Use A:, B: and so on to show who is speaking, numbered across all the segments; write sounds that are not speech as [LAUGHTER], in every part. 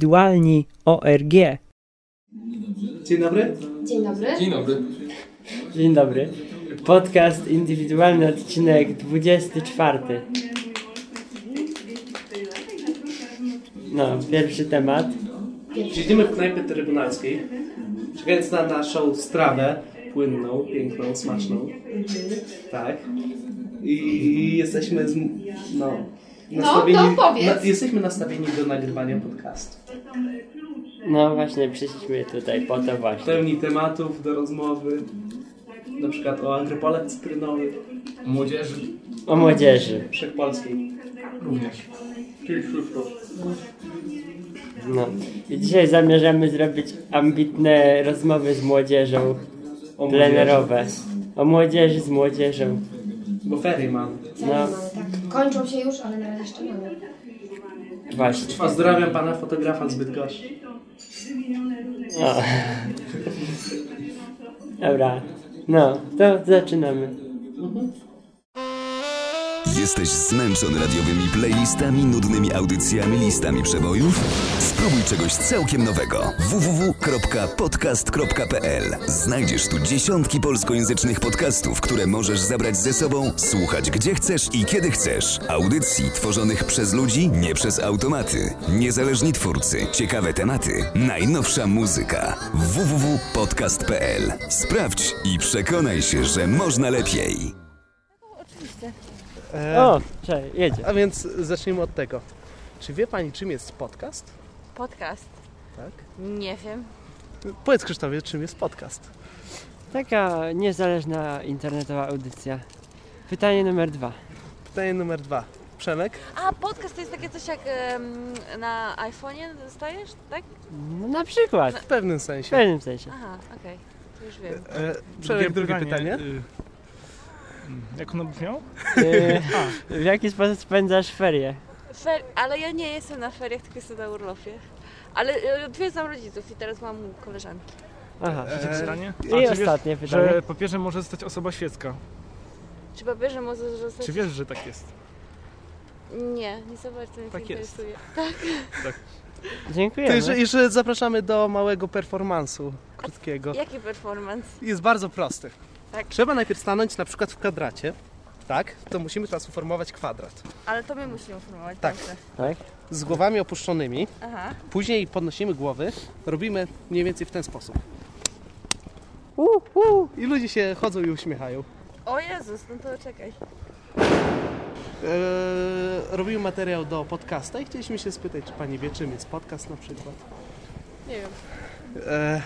A: podcast.indywidualni.org.
B: Dzień dobry.
C: Dzień dobry.
D: Dzień dobry.
A: Dzień dobry. Podcast indywidualny, odcinek 24. No, pierwszy temat.
B: Siedzimy w knajpie trybunalskiej, czekając na naszą strawę płynną, piękną, smaczną. Tak. I jesteśmy z, no,
C: to powiedz.
B: na, jesteśmy nastawieni do nagrywania podcastu.
A: No właśnie, przyszliśmy tutaj po to właśnie.
B: Pełni tematów do rozmowy, na przykład o agropolach cytrynowych,
D: Młodzieży
A: O młodzieży.
B: wszechpolskiej.
D: również.
A: No. I dzisiaj zamierzamy zrobić ambitne rozmowy z młodzieżą.
B: O
A: Plenerowe. O młodzieży z młodzieżą.
B: Bo ferie mam.
C: Ceny
A: No.
C: mamy, tak. Kończą się już, ale na razie jeszcze mamy.
A: Właśnie.
B: Pozdrawiam pana fotografa z Bydgoszczy.
A: O. Dobra. No, to zaczynamy.
E: Jesteś zmęczony radiowymi playlistami, nudnymi audycjami, listami przebojów? Spróbuj czegoś całkiem nowego. www.podcast.pl Znajdziesz tu dziesiątki polskojęzycznych podcastów, które możesz zabrać ze sobą, słuchać gdzie chcesz i kiedy chcesz. Audycji tworzonych przez ludzi, nie przez automaty. Niezależni twórcy, ciekawe tematy, najnowsza muzyka. www.podcast.pl Sprawdź i przekonaj się, że można lepiej.
A: O, cześć, jedzie.
B: A więc zacznijmy od tego. Czy wie pani, czym jest podcast?
F: Podcast?
B: Tak.
F: Nie wiem.
B: Powiedz Krzysztofie, czym jest podcast?
A: Taka niezależna internetowa audycja. Pytanie numer dwa.
B: Pytanie numer dwa. Przemek?
F: A, podcast to jest takie coś jak em, na iPhone'ie dostajesz, tak?
A: No, na przykład,
B: W pewnym
A: w
B: sensie.
A: pewnym sensie.
F: Aha, okej. To już wiem.
B: E, Przemek, drugie pytanie.
G: y, Jak ono brzmiało?
A: Yy, w jaki sposób spędzasz ferie?
F: Fer- ale ja nie jestem na feriach, tylko jestem na urlopie. Ale e, odwiedzam rodziców i teraz mam koleżanki.
A: Aha.
H: E,
G: Trzecie pytanie? A,
A: I
G: czy wiesz,
A: ostatnie pytanie.
G: Że papieżem może zostać osoba świecka.
F: Czy papieże może zostać?
G: Czy wiesz, że tak jest?
F: Nie, nie za bardzo mnie to
G: Tak jest.
F: interesuje.
B: To
A: Dziękujemy.
B: jeszcze, jeszcze zapraszamy do małego performansu krótkiego.
F: Jaki performance?
B: Jest bardzo prosty.
F: Tak.
B: Trzeba najpierw stanąć na przykład w kwadracie. Tak? To musimy teraz uformować kwadrat.
F: Ale to my musimy formować.
B: Tak.
F: dobrze.
A: Tak?
B: Z głowami opuszczonymi.
F: Aha.
B: Później podnosimy głowy. Robimy mniej więcej w ten sposób. I ludzie się chodzą i uśmiechają.
F: O Jezus, no to czekaj.
B: Eee, robimy materiał do podcasta i chcieliśmy się spytać, czy pani wie, czym jest podcast na przykład.
F: Nie wiem.
B: Eee,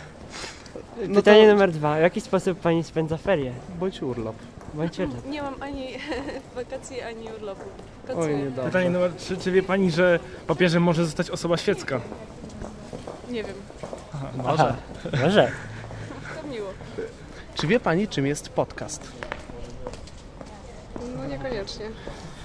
B: no
A: Pytanie
B: to-
A: numer dwa. W jaki sposób pani spędza ferie?
B: Bądź urlop.
A: Bądź urlop.
F: Nie mam ani [LAUGHS] wakacji, ani urlopu.
B: Oj, nie
G: Pytanie numer trzy. Czy wie pani, że papieżem może zostać osoba świecka?
F: Nie wiem,
A: Aha, może.
F: to miło.
B: Czy wie pani, czym jest podcast?
F: No niekoniecznie.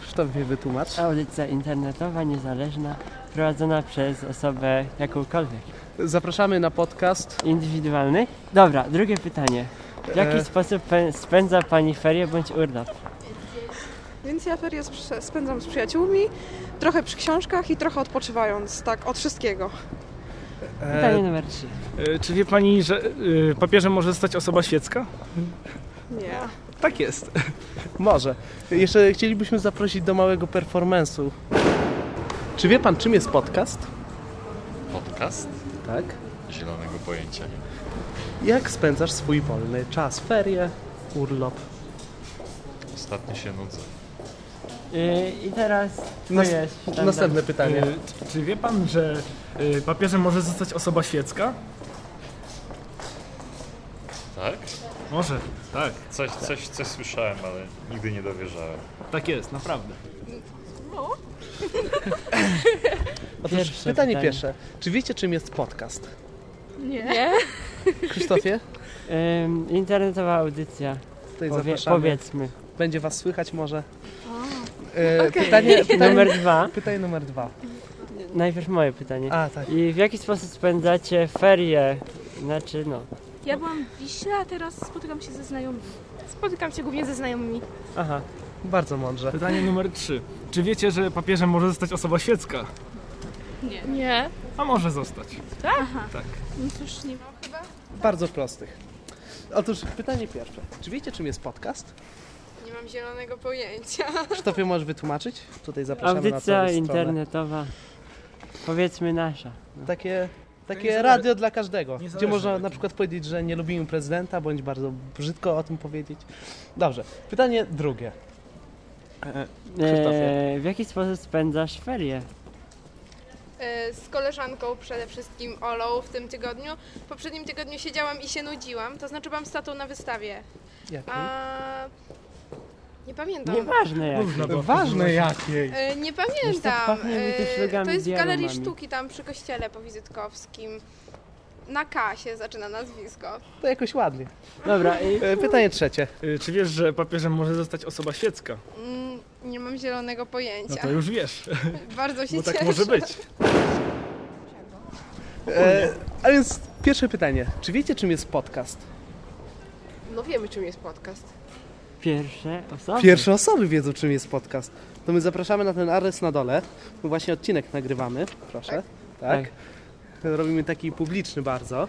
B: Krzysztof mnie wytłumacz.
A: Audycja internetowa, niezależna, prowadzona przez osobę jakąkolwiek.
B: Zapraszamy na podcast.
A: Indywidualny? Dobra, drugie pytanie. W jaki
B: E.
A: sposób pe- spędza Pani ferie bądź urlop?
I: Więc ja ferie sprze- spędzam z przyjaciółmi, trochę przy książkach i trochę odpoczywając, tak, od wszystkiego.
B: E, Tak.
A: Pytanie numer trzy.
G: Y, Czy wie pani, że y, papieżem może zostać osoba świecka?
I: Nie.
B: Tak jest. [LAUGHS] Może. Jeszcze chcielibyśmy zaprosić do małego performansu. Czy wie pan, czym jest podcast?
J: Podcast?
B: Tak.
J: Zielonego pojęcia.
B: Jak spędzasz swój wolny czas? Ferie, urlop.
J: Ostatnio się nudzę.
A: Yy, I teraz tu
B: Nas-
A: jest sztandar.
B: Następne pytanie.
G: Y, c- Czy wie pan, że y, papieżem może zostać osoba świecka?
J: Tak?
G: Może. Tak.
J: Coś, coś, coś słyszałem, ale nigdy nie dowierzałem.
G: Tak jest, naprawdę.
B: [LAUGHS] Otóż
A: Pierwsze
B: pytanie
A: pytanie.
B: pierwsze. Czy wiecie, czym jest podcast?
F: Nie.
B: Krzysztofie,
A: Ym, Yy, internetowa audycja.
B: tutaj
A: Powie-
B: zapraszamy.
A: powiedzmy.
B: Będzie was słychać może. E, pytanie, pytanie, numer...
A: Numer dwa.
B: pytanie numer dwa.
A: Najpierw moje pytanie.
B: A, tak.
A: I w jaki sposób spędzacie ferie? Znaczy, no.
H: Ja byłam w Wiśle, a teraz spotykam się ze znajomymi. Spotykam się głównie ze znajomymi.
A: Aha.
B: Bardzo mądrze.
G: Pytanie numer trzy. Czy wiecie, że papieżem może zostać osoba świecka?
F: Nie.
K: Nie. A może zostać.
H: Tak.
F: No cóż, nie mam.
B: Bardzo prostych. Otóż pytanie pierwsze. Czy wiecie, czym jest podcast?
C: Nie mam zielonego pojęcia.
B: Krzysztofie, możesz wytłumaczyć? Tutaj zapraszamy na całą
A: Audycja
B: stronę.
A: internetowa. Powiedzmy nasza.
B: Takie,
K: nie
B: takie
K: zależy-
B: radio dla każdego,
K: nie
B: gdzie
K: zależy
B: można
K: jakim.
B: na przykład powiedzieć, że nie lubimy prezydenta, bądź bardzo brzydko o tym powiedzieć. Dobrze, pytanie drugie. Krzysztofie.
A: E, w jaki sposób spędzasz ferie?
C: E, Z koleżanką przede wszystkim Olą w tym tygodniu. W poprzednim tygodniu siedziałam i się nudziłam, to znaczy byłam z tatą na wystawie.
B: Jakie?
C: A...
A: Hmm?
C: Nie
F: No.
C: pamiętam.
A: Nieważne jak.
K: Można było
B: Ważne
K: jakiej.
C: E, Nie
A: Wiesz co,
C: pamiętam.
A: tak pachnie mi
C: E,
A: tyś legami
C: To jest w Galerii
A: dialogami.
C: Sztuki, tam przy kościele powizytkowskim. Na K się zaczyna nazwisko.
B: To jakoś ładnie.
A: Dobra, i
B: E, Pytanie trzecie.
K: Y, Czy wiesz, że papieżem może zostać osoba świecka?
C: Mm, Nie mam zielonego
K: No
C: pojęcia.
K: to już wiesz,
C: Tak. Bardzo się
K: bo tak
C: cieszę.
K: może być.
B: E, a więc pierwsze pytanie. Czy wiecie, czym jest podcast?
C: No wiemy, czym jest podcast.
A: pierwsze osoby.
B: Pierwsze osoby wiedzą, czym jest podcast. To my zapraszamy na ten adres na dole. My właśnie odcinek nagrywamy. Proszę. Tak.
A: Tak.
B: Robimy taki publiczny bardzo.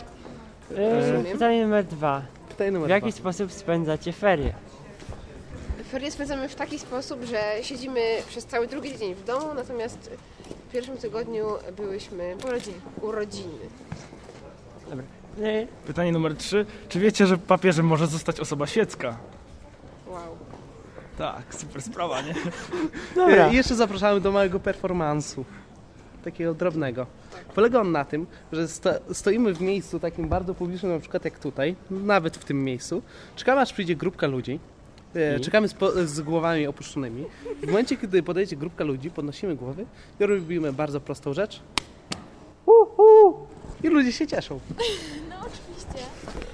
A: E, pytanie numer dwa.
B: Pytanie numer
A: W jaki
B: dwa.
A: sposób spędzacie ferie?
C: Ferie spędzamy w taki sposób, że siedzimy przez cały drugi dzień w domu, natomiast w pierwszym tygodniu byłyśmy u rodziny.
A: E,
K: Pytanie numer 3. Czy wiecie, że papieżem może zostać osoba świecka?
C: Wow.
K: Tak, super sprawa, nie?
A: Dobra.
B: E, I jeszcze zapraszamy do małego performansu. Takiego drobnego. Polega on na tym, że sto, stoimy w miejscu takim bardzo publicznym, na przykład jak tutaj, nawet w tym miejscu. Czekamy, aż przyjdzie grupka ludzi. E,
A: I?
B: Czekamy z, po, z głowami opuszczonymi. W momencie, kiedy podejdzie grupka ludzi, podnosimy głowy i robimy bardzo prostą rzecz. Uhu! I ludzie się cieszą. No oczywiście.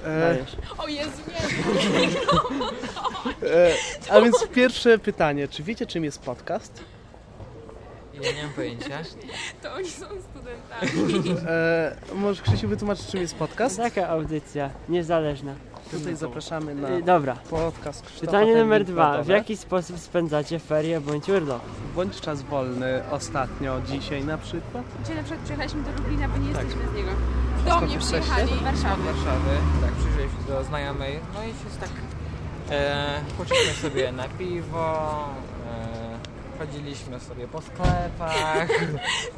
B: E,
A: Dajesz.
F: O Jezu, nie.
B: e, a więc pierwsze pytanie. Czy wiecie, czym jest podcast?
D: Ja nie mam pojęcia.
F: To oni są studentami.
B: E, może Krzysiu wytłumaczyć, czym jest podcast?
A: Taka audycja, niezależna.
B: Tutaj zapraszamy na...
A: E, Dobra.
B: Podcast Krzysztofa
A: Pytanie numer
B: Fellinga,
A: dwa.
B: dobra.
A: W jaki sposób spędzacie ferie bądź urlop?
B: Bądź czas wolny ostatnio, dzisiaj na przykład.
F: Dzisiaj na przykład przyjechaliśmy do Lublina, bo nie jesteśmy z niego. Do
B: Skąd
F: mnie
B: jesteście?
F: przyjechali z
D: Z
F: Warszawy.
D: Warszawy, tak, przyjrzeliśmy do znajomej, no i się tak e, poszliśmy sobie na piwo, e, chodziliśmy sobie po sklepach,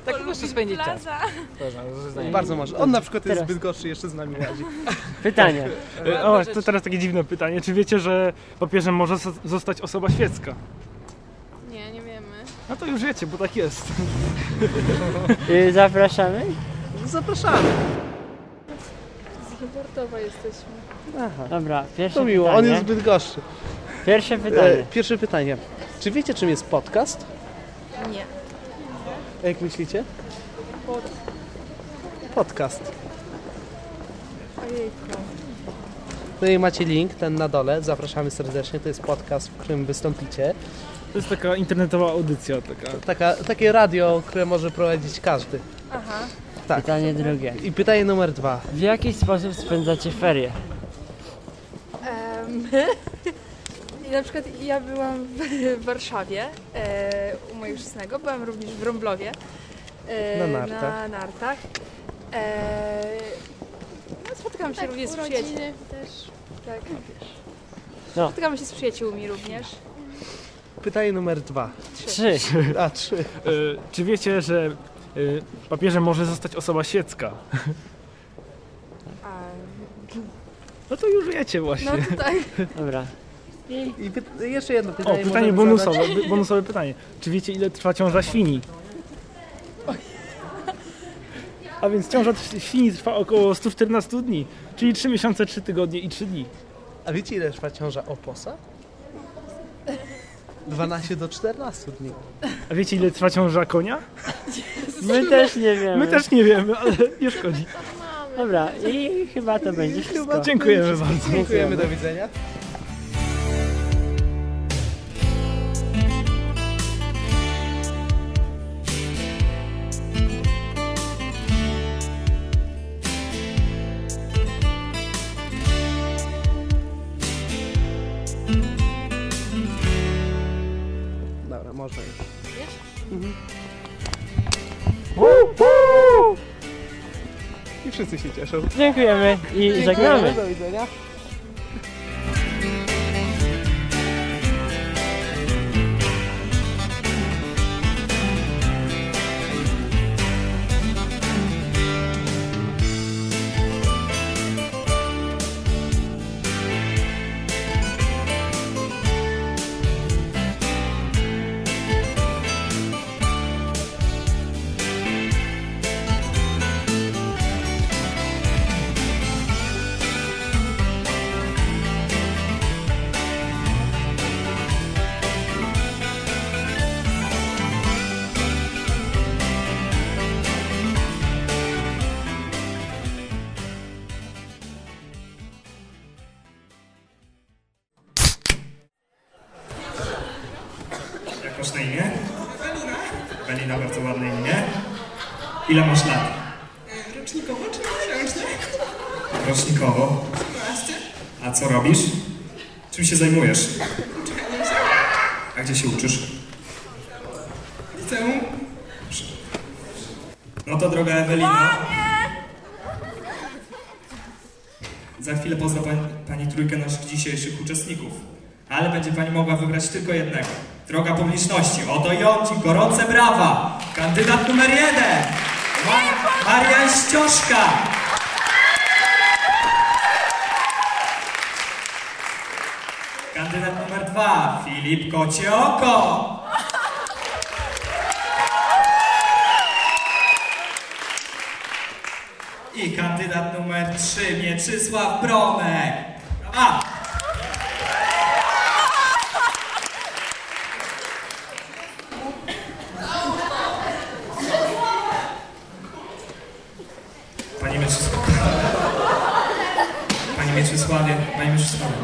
D: tak po prostu spędzić czas.
F: Plaza.
D: Przepraszam, ze znajomymi.
B: Bardzo może. On na przykład jest
A: Teraz.
B: zbyt gorszy, jeszcze z nami łazi.
A: Pytanie.
K: E, O, to teraz takie dziwne pytanie. Czy wiecie, że papieżem może zo- zostać osoba świecka?
F: Nie, nie wiemy.
K: No to już wiecie, bo tak jest.
A: E, Zapraszamy?
B: Zapraszamy.
F: Sportowa jesteśmy.
A: Dobra, pierwsze
B: To miło, on
A: pytanie.
B: jest zbyt gorszy.
A: Pierwsze
B: E,
A: pytanie.
B: pierwsze pytanie. Czy wiecie, czym jest podcast?
F: Nie.
B: A Jak myślicie? Podcast. Tutaj No macie link, ten na dole. Zapraszamy serdecznie. To jest podcast, w którym wystąpicie.
K: To jest taka internetowa audycja taka.
B: Taka, takie radio, które może prowadzić każdy. tak.
A: Pytanie drugie.
B: I pytanie numer dwa.
A: W jaki sposób spędzacie ferie?
F: I na przykład ja byłam w, w Warszawie e, u mojego chrzestnego, byłam również w Rąblowie. e,
B: Na nartach.
F: Na nartach. E, no, spotykam się również z przyjaciółmi. Tak.
A: No.
F: Spotykam się z przyjaciółmi również.
B: Pytanie numer dwa.
A: Trzy.
B: A, trzy.
K: E, Czy wiecie, że e, papieżem może zostać osoba świecka?
F: A,
K: No to już wiecie właśnie.
F: no to tak.
A: Dobra.
B: I py- jeszcze jedno
K: O,
B: pytanie. możemy
K: pytanie bonusowe,
B: zadać.
K: by- bonusowe pytanie. Czy wiecie, ile trwa ciąża świni? A więc ciąża t- świni trwa około 114 dni, czyli 3 miesiące, 3 tygodnie i 3 dni.
B: A wiecie, ile trwa ciąża oposa? 12 do 14 dni.
K: A wiecie, ile trwa ciąża konia?
A: My też nie wiemy.
K: My
B: E.
K: też nie wiemy, ale nie szkodzi.
A: Dobra, i chyba to będzie wszystko.
K: Dziękujemy bardzo.
B: Dziękujemy, do widzenia. Dobra, można już. Mhm.
L: i wszyscy się cieszą.
A: Dziękujemy i
L: Dziękujemy,
A: żegnamy.
L: Do widzenia.
K: Jak masz na imię? Ewelina. Ewelina, bardzo ładne imię. Ile masz lat?
B: Rocznikowo czy miesięcznie?
K: Rocznikowo.
B: 12.
K: A co robisz? Czym się zajmujesz?
B: Uczenie się.
K: A gdzie się uczysz?
B: Liceum.
K: No to droga Ewelino, za chwilę pozna pani, pani trójkę naszych dzisiejszych uczestników. Ale będzie pani mogła wybrać tylko jednego. Droga publiczności, oto ją ci gorące brawa! Kandydat numer jeden! Ma- Marian Ścioszka! Kandydat numer dwa, Filip Kocioko! I kandydat numer 3, Mieczysław Bronek. A! Panie Mieczysławie. Panie Mieczysławie, Panie Mieczysławie.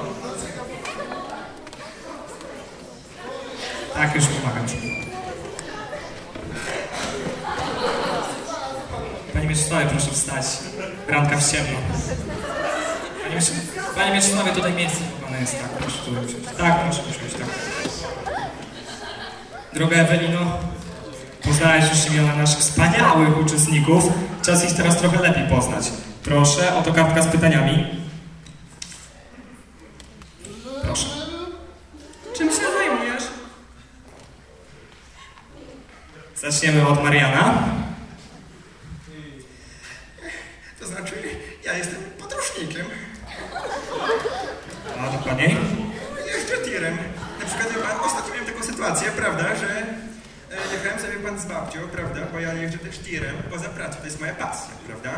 K: Tak, już pomagam Ci. Panie Mieczysławie, proszę wstać. Ranka w ciemno. Panie, Miecz... Panie Mieczysławie, tutaj miejsce dla pana jest. Tak, proszę tutaj usiąść. Tak, proszę usiąść, tak. Droga Ewelino, poznałeś już imiona naszych wspaniałych uczestników. Czas ich teraz trochę lepiej poznać. Proszę, oto kartka z pytaniami. Proszę.
B: Czym się zajmujesz?
K: Zaczniemy od Mariana.
B: To znaczy, ja jestem podróżnikiem.
K: A No, dokładniej.
B: Jeszcze tirem. Na przykład ja pan, ostatnio miałem taką sytuację, prawda, że e, jechałem sobie pan z babcią, prawda, bo ja jeżdżę też tirem poza pracą, to jest moja pasja, prawda.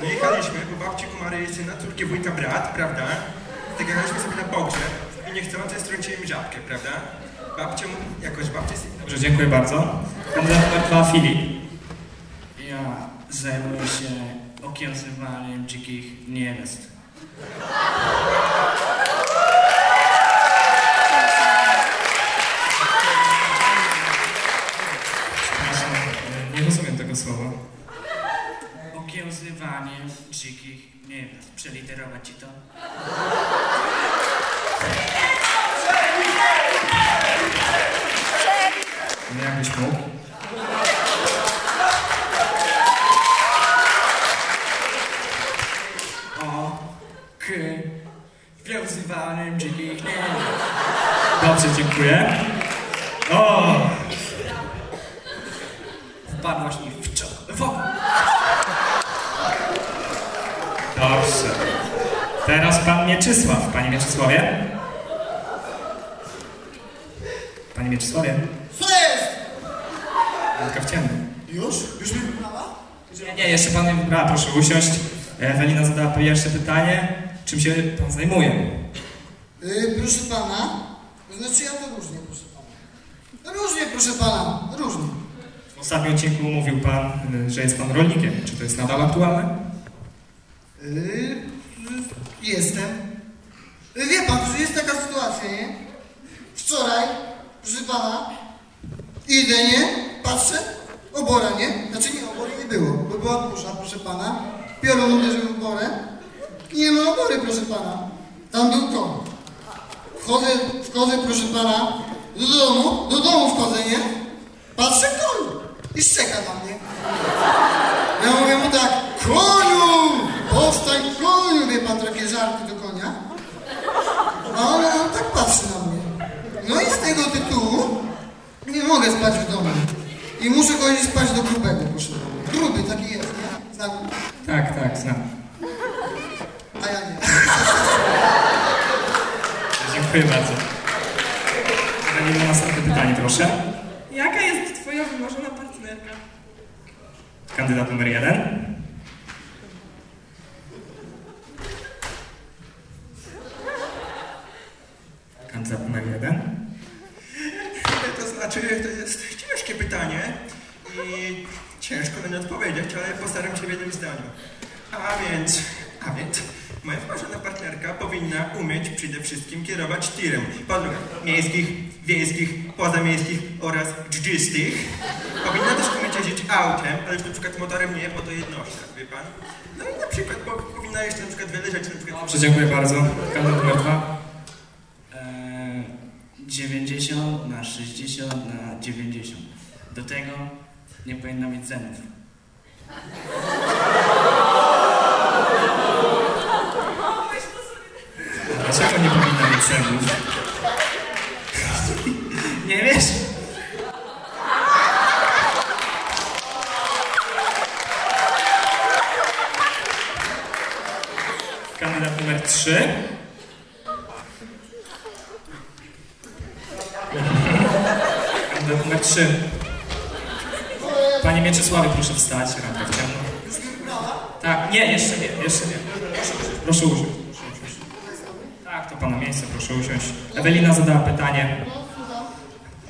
B: No jechaliśmy, bo babci Kumary jeździ na córki wujka brat, prawda. Tak jechaliśmy sobie na pogrzeb i niechcący strąciłem żabkę, prawda. Babcią, jakoś babcię...
K: Dobrze, dziękuję bardzo. Kandydat numer dwa, Filip. Ja zajmuję się okiełzywaniem dzikich niewiast. Przepraszam, e, nie rozumiem tego słowa.
D: Okiełzywanie dzikich niewiast. Przeliterować ci to?
K: Nie jakbyś mógł.
D: O, k, wiązywaniem dzikich niewiast.
K: Dobrze, dziękuję. O!
D: Wpadłaś mi w czo... w oko.
K: Dobrze. Teraz pan Mieczysław. Panie Mieczysławie? Panie Mieczysławie?
B: Co jest?
K: Ręka w ciemno.
B: Już? Już mi wybrała?
K: Nie, nie, jeszcze pan nie wybrała. Proszę usiąść. Ewelina zadała pierwsze pytanie. Czym się pan zajmuje?
B: Yy, proszę pana, to znaczy ja to różnie, proszę pana. No Różnie, proszę pana, różnie.
K: W ostatnim odcinku mówił pan, y, że jest pan rolnikiem. Czy to jest nadal aktualne?
B: Yy, yy, jestem. Yy, wie pan, że jest taka sytuacja, nie? Wczoraj, proszę pana, idę, nie? Patrzę, obora, nie? Znaczy nie, obory nie było, bo była burza, proszę pana. Piorun uderzył w oborę. Nie ma obory, proszę pana. Tam był koń. Wchodzę, wchodzę, proszę pana, do domu, do domu wchodzę, nie? Patrzę koń i szczeka na mnie. Ja mówię mu tak, koniu!
E: No, tego tytułu nie mogę spać w domu. I muszę chodzić spać do grubego, proszę. Gruby taki jest, nie? Znam.
D: Tak, tak, znam.
E: A ja nie.
D: Dziękuję bardzo. Danielu, następne pytanie proszę.
F: Jaka jest twoja wymarzona partnerka?
D: Kandydat numer jeden. Kandydat numer jeden.
B: To znaczy, to jest ciężkie pytanie i ciężko będzie odpowiedzieć, ale postaram się w jednym zdaniu. A więc, a więc, moja wymarzona partnerka powinna umieć przede wszystkim kierować tirem. Podróż miejskich, wiejskich, pozamiejskich oraz dżdżystych. Powinna też umieć jeździć autem, ale już na przykład motorem nie, bo to jednostka, wie pan? No i na przykład po, powinna jeszcze na przykład wyleżeć na przykład...
D: Dobrze, dziękuję bardzo. Kandydat numer dwa.
B: Eee, 90 na 60 na 90. Do tego nie powinna mieć zębów.
D: Dlaczego nie powinna mieć zębów?
B: Nie wiesz?
D: Kandydat numer trzy. Kandydat numer trzy. Panie Mieczysławie, proszę wstać, ramka w ciemno. Tak, nie, jeszcze nie, jeszcze nie. Proszę, usiąść, proszę usiąść. proszę usiąść. Tak, to pana miejsce, proszę usiąść. Ewelina zadała pytanie.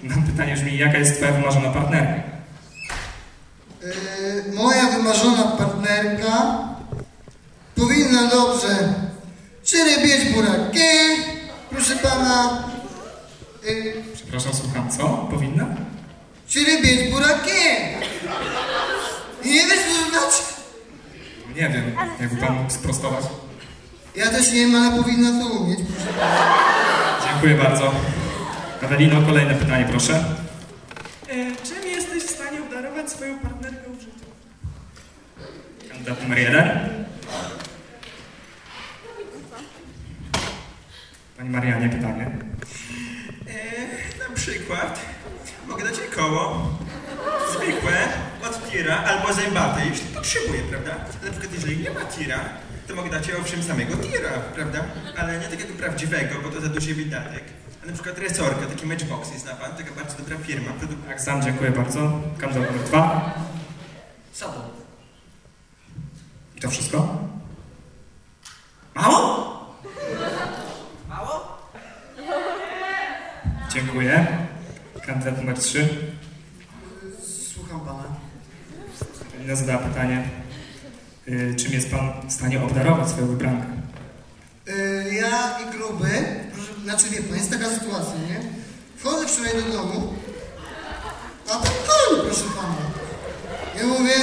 D: Mam pytanie brzmi, jaka jest twoja wymarzona partnerka?
E: Yy, moja wymarzona partnerka powinna dobrze przerybieć buraki. Proszę pana. Yy,
D: Przepraszam, słucham, co? Powinna?
E: przerybieć buraki. Nie wiesz co to znaczy?
D: Nie wiem, jakby pan mógł sprostować.
E: Ja też nie wiem, ale powinna to umieć. Proszę pana.
D: Dziękuję bardzo. Ewelino, kolejne pytanie, proszę.
F: E, czym jesteś w stanie obdarować swoją partnerkę w życiu?
D: Kandydat numer jeden. Pani Marianie, pytanie.
B: E, na przykład mogę dać jej koło, zwykłe, od tira albo zębate, jeśli potrzebuję, prawda? Na przykład jeżeli nie ma tira, to mogę dać jej owszem samego tira, prawda? Ale nie takiego prawdziwego, bo to za duży wydatek. A na przykład resorka, taki matchboxy, zna pan? Taka bardzo dobra firma. Produkt...
D: Tak, sam dziękuję bardzo. Kandydat numer dwa.
B: Co to?
D: I to wszystko?
B: Mało?
D: Dziękuję. Kandydat numer trzy.
E: Słucham pana.
D: Ewelina zadała pytanie. Y, czym jest pan w stanie obdarować swoją wybrankę?
E: Y, ja i gruby, proszę, znaczy wie pan, jest taka sytuacja, nie? Wchodzę wczoraj do domu, a tam koń, proszę pana. Ja mówię,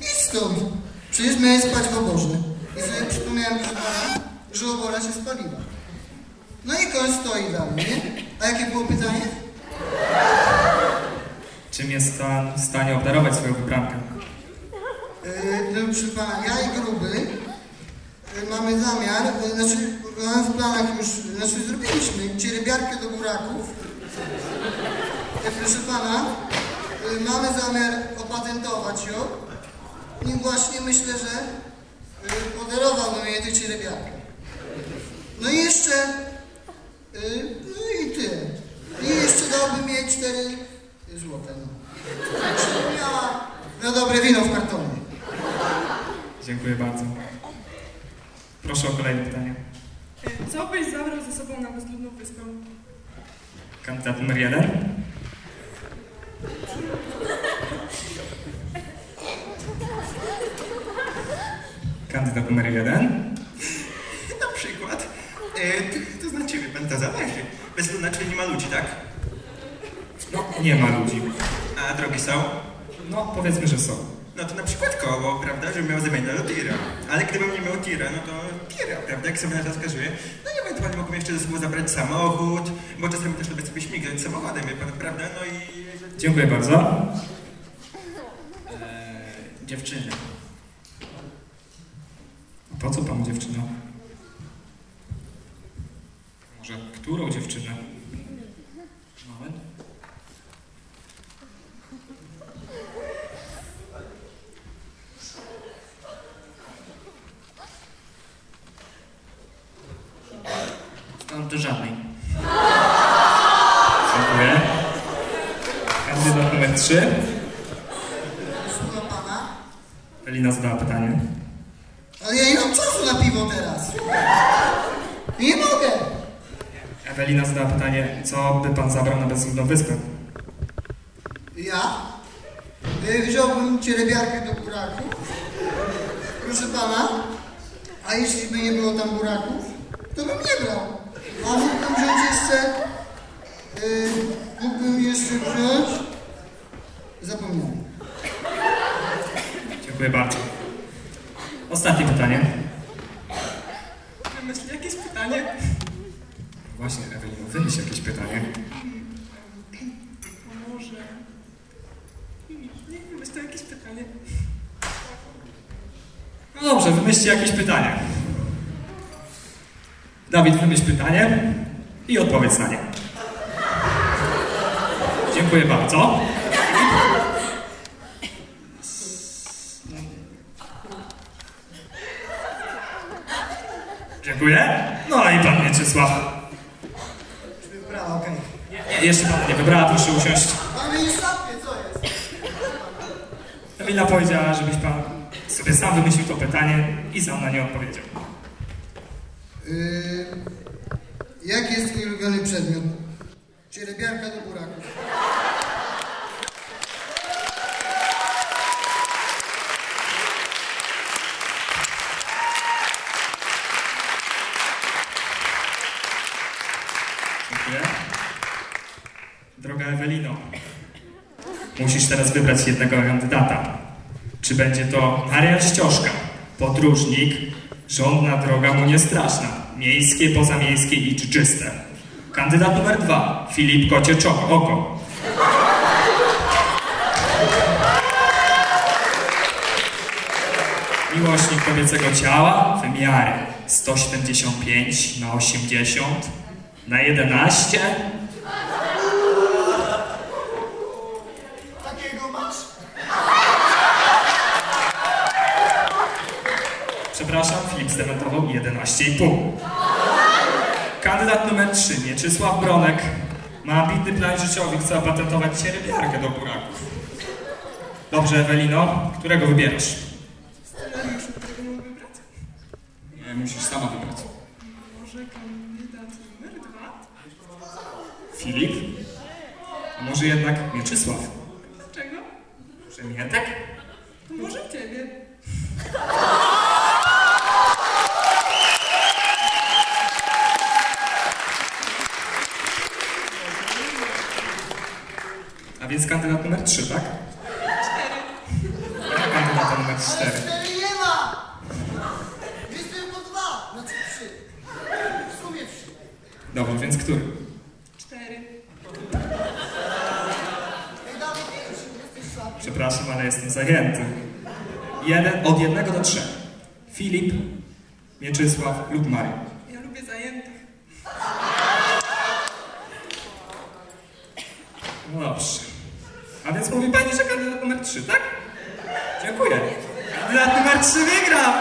E: idź stąd, przecież miałem spać w oborze. I sobie przypomniałem, proszę pana, że obora się spaliła. No i koń stoi dla mnie. A jakie było pytanie?
D: Czym jest pan w stanie obdarować swoją wybrankę?
E: Yy, no, proszę pana, ja i gruby y, mamy zamiar, y, znaczy mamy w planach już, znaczy zrobiliśmy cierebiarkę do buraków. Y, proszę pana, y, mamy zamiar opatentować ją i właśnie myślę, że y, podarowałbym jej tę cierebiarkę. No i jeszcze, y, no i tyle. I jeszcze dałbym jej cztery złote. No. Żeby miała na dobre wino w kartonie.
D: Dziękuję bardzo. Proszę o kolejne pytanie.
F: E, co byś zabrał ze sobą na bezludną wyspę?
D: Kandydat numer jeden. Kandydat numer jeden.
B: Na przykład, e, to, to znaczy, wie pan, to zależy. Bez znaczy nie ma ludzi, tak?
D: No, Nie ma ludzi.
B: A drogi są?
D: No, powiedzmy, że są.
B: No to na przykład koło, prawda, żebym miał zamianę do tira. Ale gdybym nie miał tira, no to tira, prawda, jak sobie na to wskazuje. No i ewentualnie mógłbym jeszcze ze sobą zabrać samochód, bo czasami też lubię sobie śmigać samochodem, wie pan, prawda, no i...
D: Dziękuję bardzo.
B: Dziewczyny.
D: Po co panu dziewczyna? Może którą dziewczynę?
K: Moment. Mam do żadnej. Dziękuję. Kandydat numer 3.
E: Słucham pana,
K: Elina zadała pytanie.
E: ale ja nie mam czasu na piwo teraz. Nie mogę.
K: Ewelina zadała pytanie, co by pan zabrał na bezludną wyspę?
E: Ja? Y, Wziąłbym cierebiarkę do buraków. Proszę pana, a jeśli by nie było tam buraków, to bym nie brał. A mógłbym wziąć jeszcze... y, mógłbym jeszcze wziąć... Zapomniałem.
K: Dziękuję bardzo. Ostatnie pytanie.
B: Myślę, jakie jest pytanie?
K: Właśnie, Ewelino, wymyśl jakieś pytanie.
B: A Może... Hmm, Nie wiem, jest to jakieś pytanie.
K: No dobrze, wymyślcie jakieś pytanie. Dawid, wymyśl pytanie i odpowiedz na nie. Dziękuję bardzo. Dziękuję. No i pan Mieczysław.
E: Wybrała, okej.
K: Nie, jeszcze pan nie wybrała, proszę usiąść.
E: Ale nie szapie, co jest?
K: Emila powiedziała, żebyś pan sobie sam wymyślił to pytanie i sam na nie odpowiedział.
E: Y, jaki jest twój ulubiony przedmiot? Cierebiarka do buraków.
K: Dziękuję. Droga Ewelino, musisz teraz wybrać jednego kandydata. Czy będzie to Marian Ściożka, podróżnik, żądna droga mu niestraszna, miejskie, pozamiejskie i czyczyste. Kandydat numer dwa, Filip Kocie Czo- Oko. Miłośnik kobiecego ciała, wymiary 175 na 80 na 11.
E: Takiego masz?
K: Przepraszam, Filip zdementował 11,5. Kandydat numer 3, Mieczysław Bronek, ma ambitny plan życiowy, chce opatentować cierpiarkę do buraków. Dobrze, Ewelino, którego wybierasz?
B: Scenariusz, którego mam wybrać?
K: Nie, musisz sama wybrać.
B: Może kandydat numer dwa?
K: Filip? A może jednak Mieczysław?
B: Dlaczego?
K: Że nie tak?
B: To może ciebie.
K: A więc kandydat numer 3, tak? Cztery. Kandydat numer 4.
E: Cztery nie ma! Jest tylko dwa, znaczy trzy. W sumie trzy.
K: Dobra, więc który?
B: Cztery.
E: Ej, Dawid, idź, jesteś szapie.
K: Przepraszam, ale jestem zajęty. Jeden, od jednego do trzech. Filip, Mieczysław lub Mariusz.
B: Ja lubię zajętych.
K: No dobrze. A więc mówi pani, że kandydat numer 3, tak? Dziękuję. Kandydat numer 3 wygrał!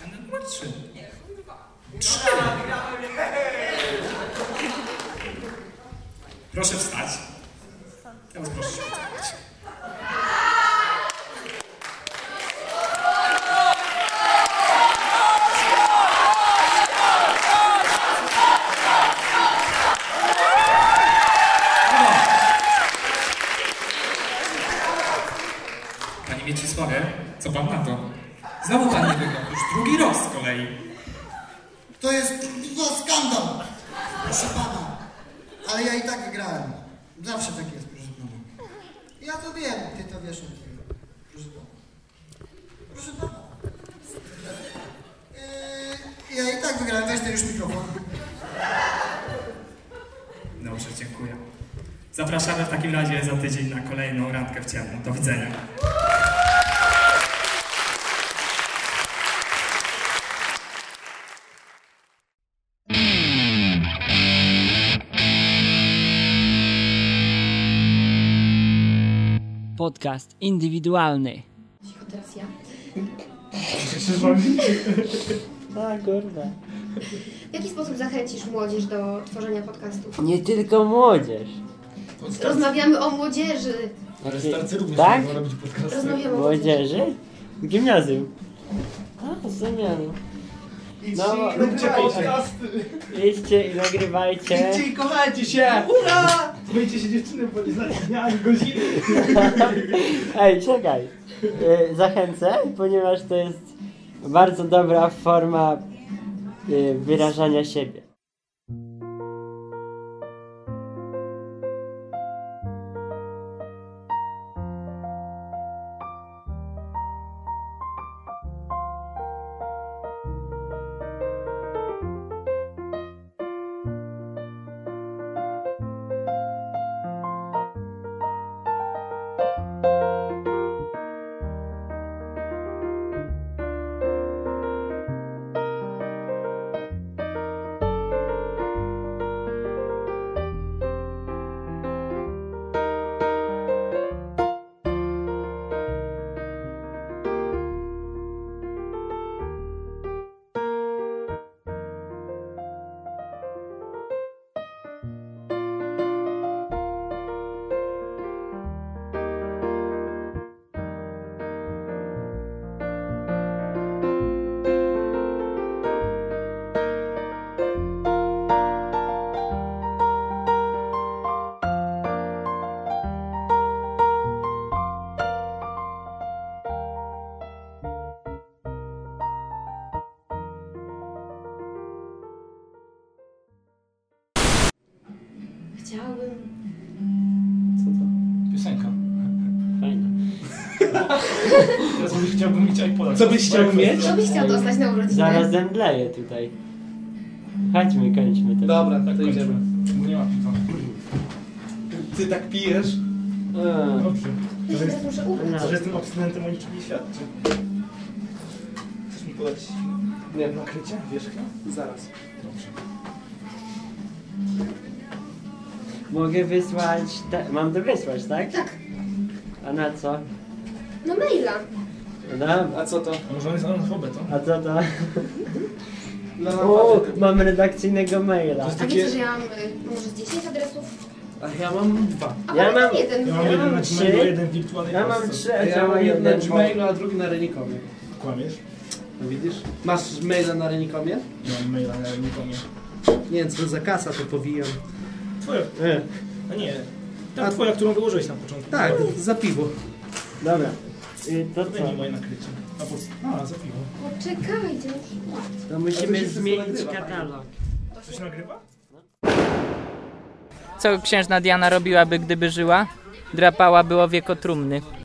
K: Kandydat numer 3. Trzy. Proszę wstać. Teraz proszę się odsunąć. Panie Mieczysławie, co pan na to? Znowu pan nie wygrał, już drugi raz z kolei.
E: To jest kurwa skandal! Proszę pana. Ale ja i tak grałem. Zawsze tak jest, proszę pana. Ja to wiem, ty to wiesz o tym. Proszę pana. Proszę pana. Yy, ja i tak wygrałem, weź ten już mikrofon.
K: Dobrze, dziękuję. Zapraszamy w takim razie za tydzień na kolejną randkę w ciemno. Do widzenia.
M: Podcast indywidualny.
C: Cicho, teraz ja.
A: A, kurwa.
C: W jaki sposób zachęcisz młodzież do tworzenia podcastów?
A: Nie tylko młodzież.
C: Rozmawiamy o młodzieży.
A: Ale starcy również tak?
K: mogą robić podcasty.
C: Rozmawiamy o
A: Młodzieży? Gimnazjum. A, zamiany. No,
K: i róbcie podcasty.
A: Idźcie i nagrywajcie.
K: Idźcie i kochajcie się! Hurra! Boicie się dziewczyny, bo nie znacie dnia ani godziny.
A: Ej, czekaj. Y, Zachęcę, ponieważ to jest bardzo dobra forma y, wyrażania siebie.
C: Chciałabym.
K: Piosenka.
A: Fajna.
K: Teraz mówisz, chciałbym mieć iPoda.
A: Co byś chciał mieć?
C: Co byś chciał dostać na urodziny?
A: Zaraz zemdleję tutaj. Chodźmy, kończmy to. Dobra,
K: to idziemy. Bo nie ma piwa. Ty tak pijesz?
A: Y,
K: Dobrze.
C: Ja się teraz muszę ubrać.
K: że No. jestem abstynentem o niczym nie świadczy. Chcesz mi podać nie, nakrycie? Wierzchnia? Zaraz. Dobrze.
A: Mogę wysłać. Te... Mam to wysłać, tak?
C: Tak.
A: A na co?
C: No maila.
A: A co to?
K: Może on jest analfabetą?
A: A co to?
K: No,
A: o, mam redakcyjnego maila.
C: A wiecie, że ja mam y, może z 10 adresów?
K: A ja mam dwa.
C: A ja mam jeden.
K: Ja mam jeden na
A: trzy.
K: Gmailu, jeden w wirtualnej
A: Ja mam
K: Polsce.
A: trzy, a
K: A
A: ty
K: ja mam
A: masz
K: jeden na
A: jeden.
K: Gmailu, a drugi na Renikomie. Kłamiesz? No widzisz? Masz maila na Renikomie? Mam maila na Renikomie. Nie wiem, co za kasa to powijam.
N: Twoja. A nie. Ta twoja, którą wyłożyłeś na początku.
K: Tak, za piwo.
A: Dobra. Y, to
K: co? Nie moje nakrycie. A, po... a za piwo.
C: Poczekajcie. muszę-
A: To
K: A to
A: musimy
K: się
A: zmienić
K: wszystko nagrywa,
A: katalog.
K: Coś nagrywa?
B: Co księżna Diana robiłaby, gdyby żyła? Drapałaby owie kotrumny.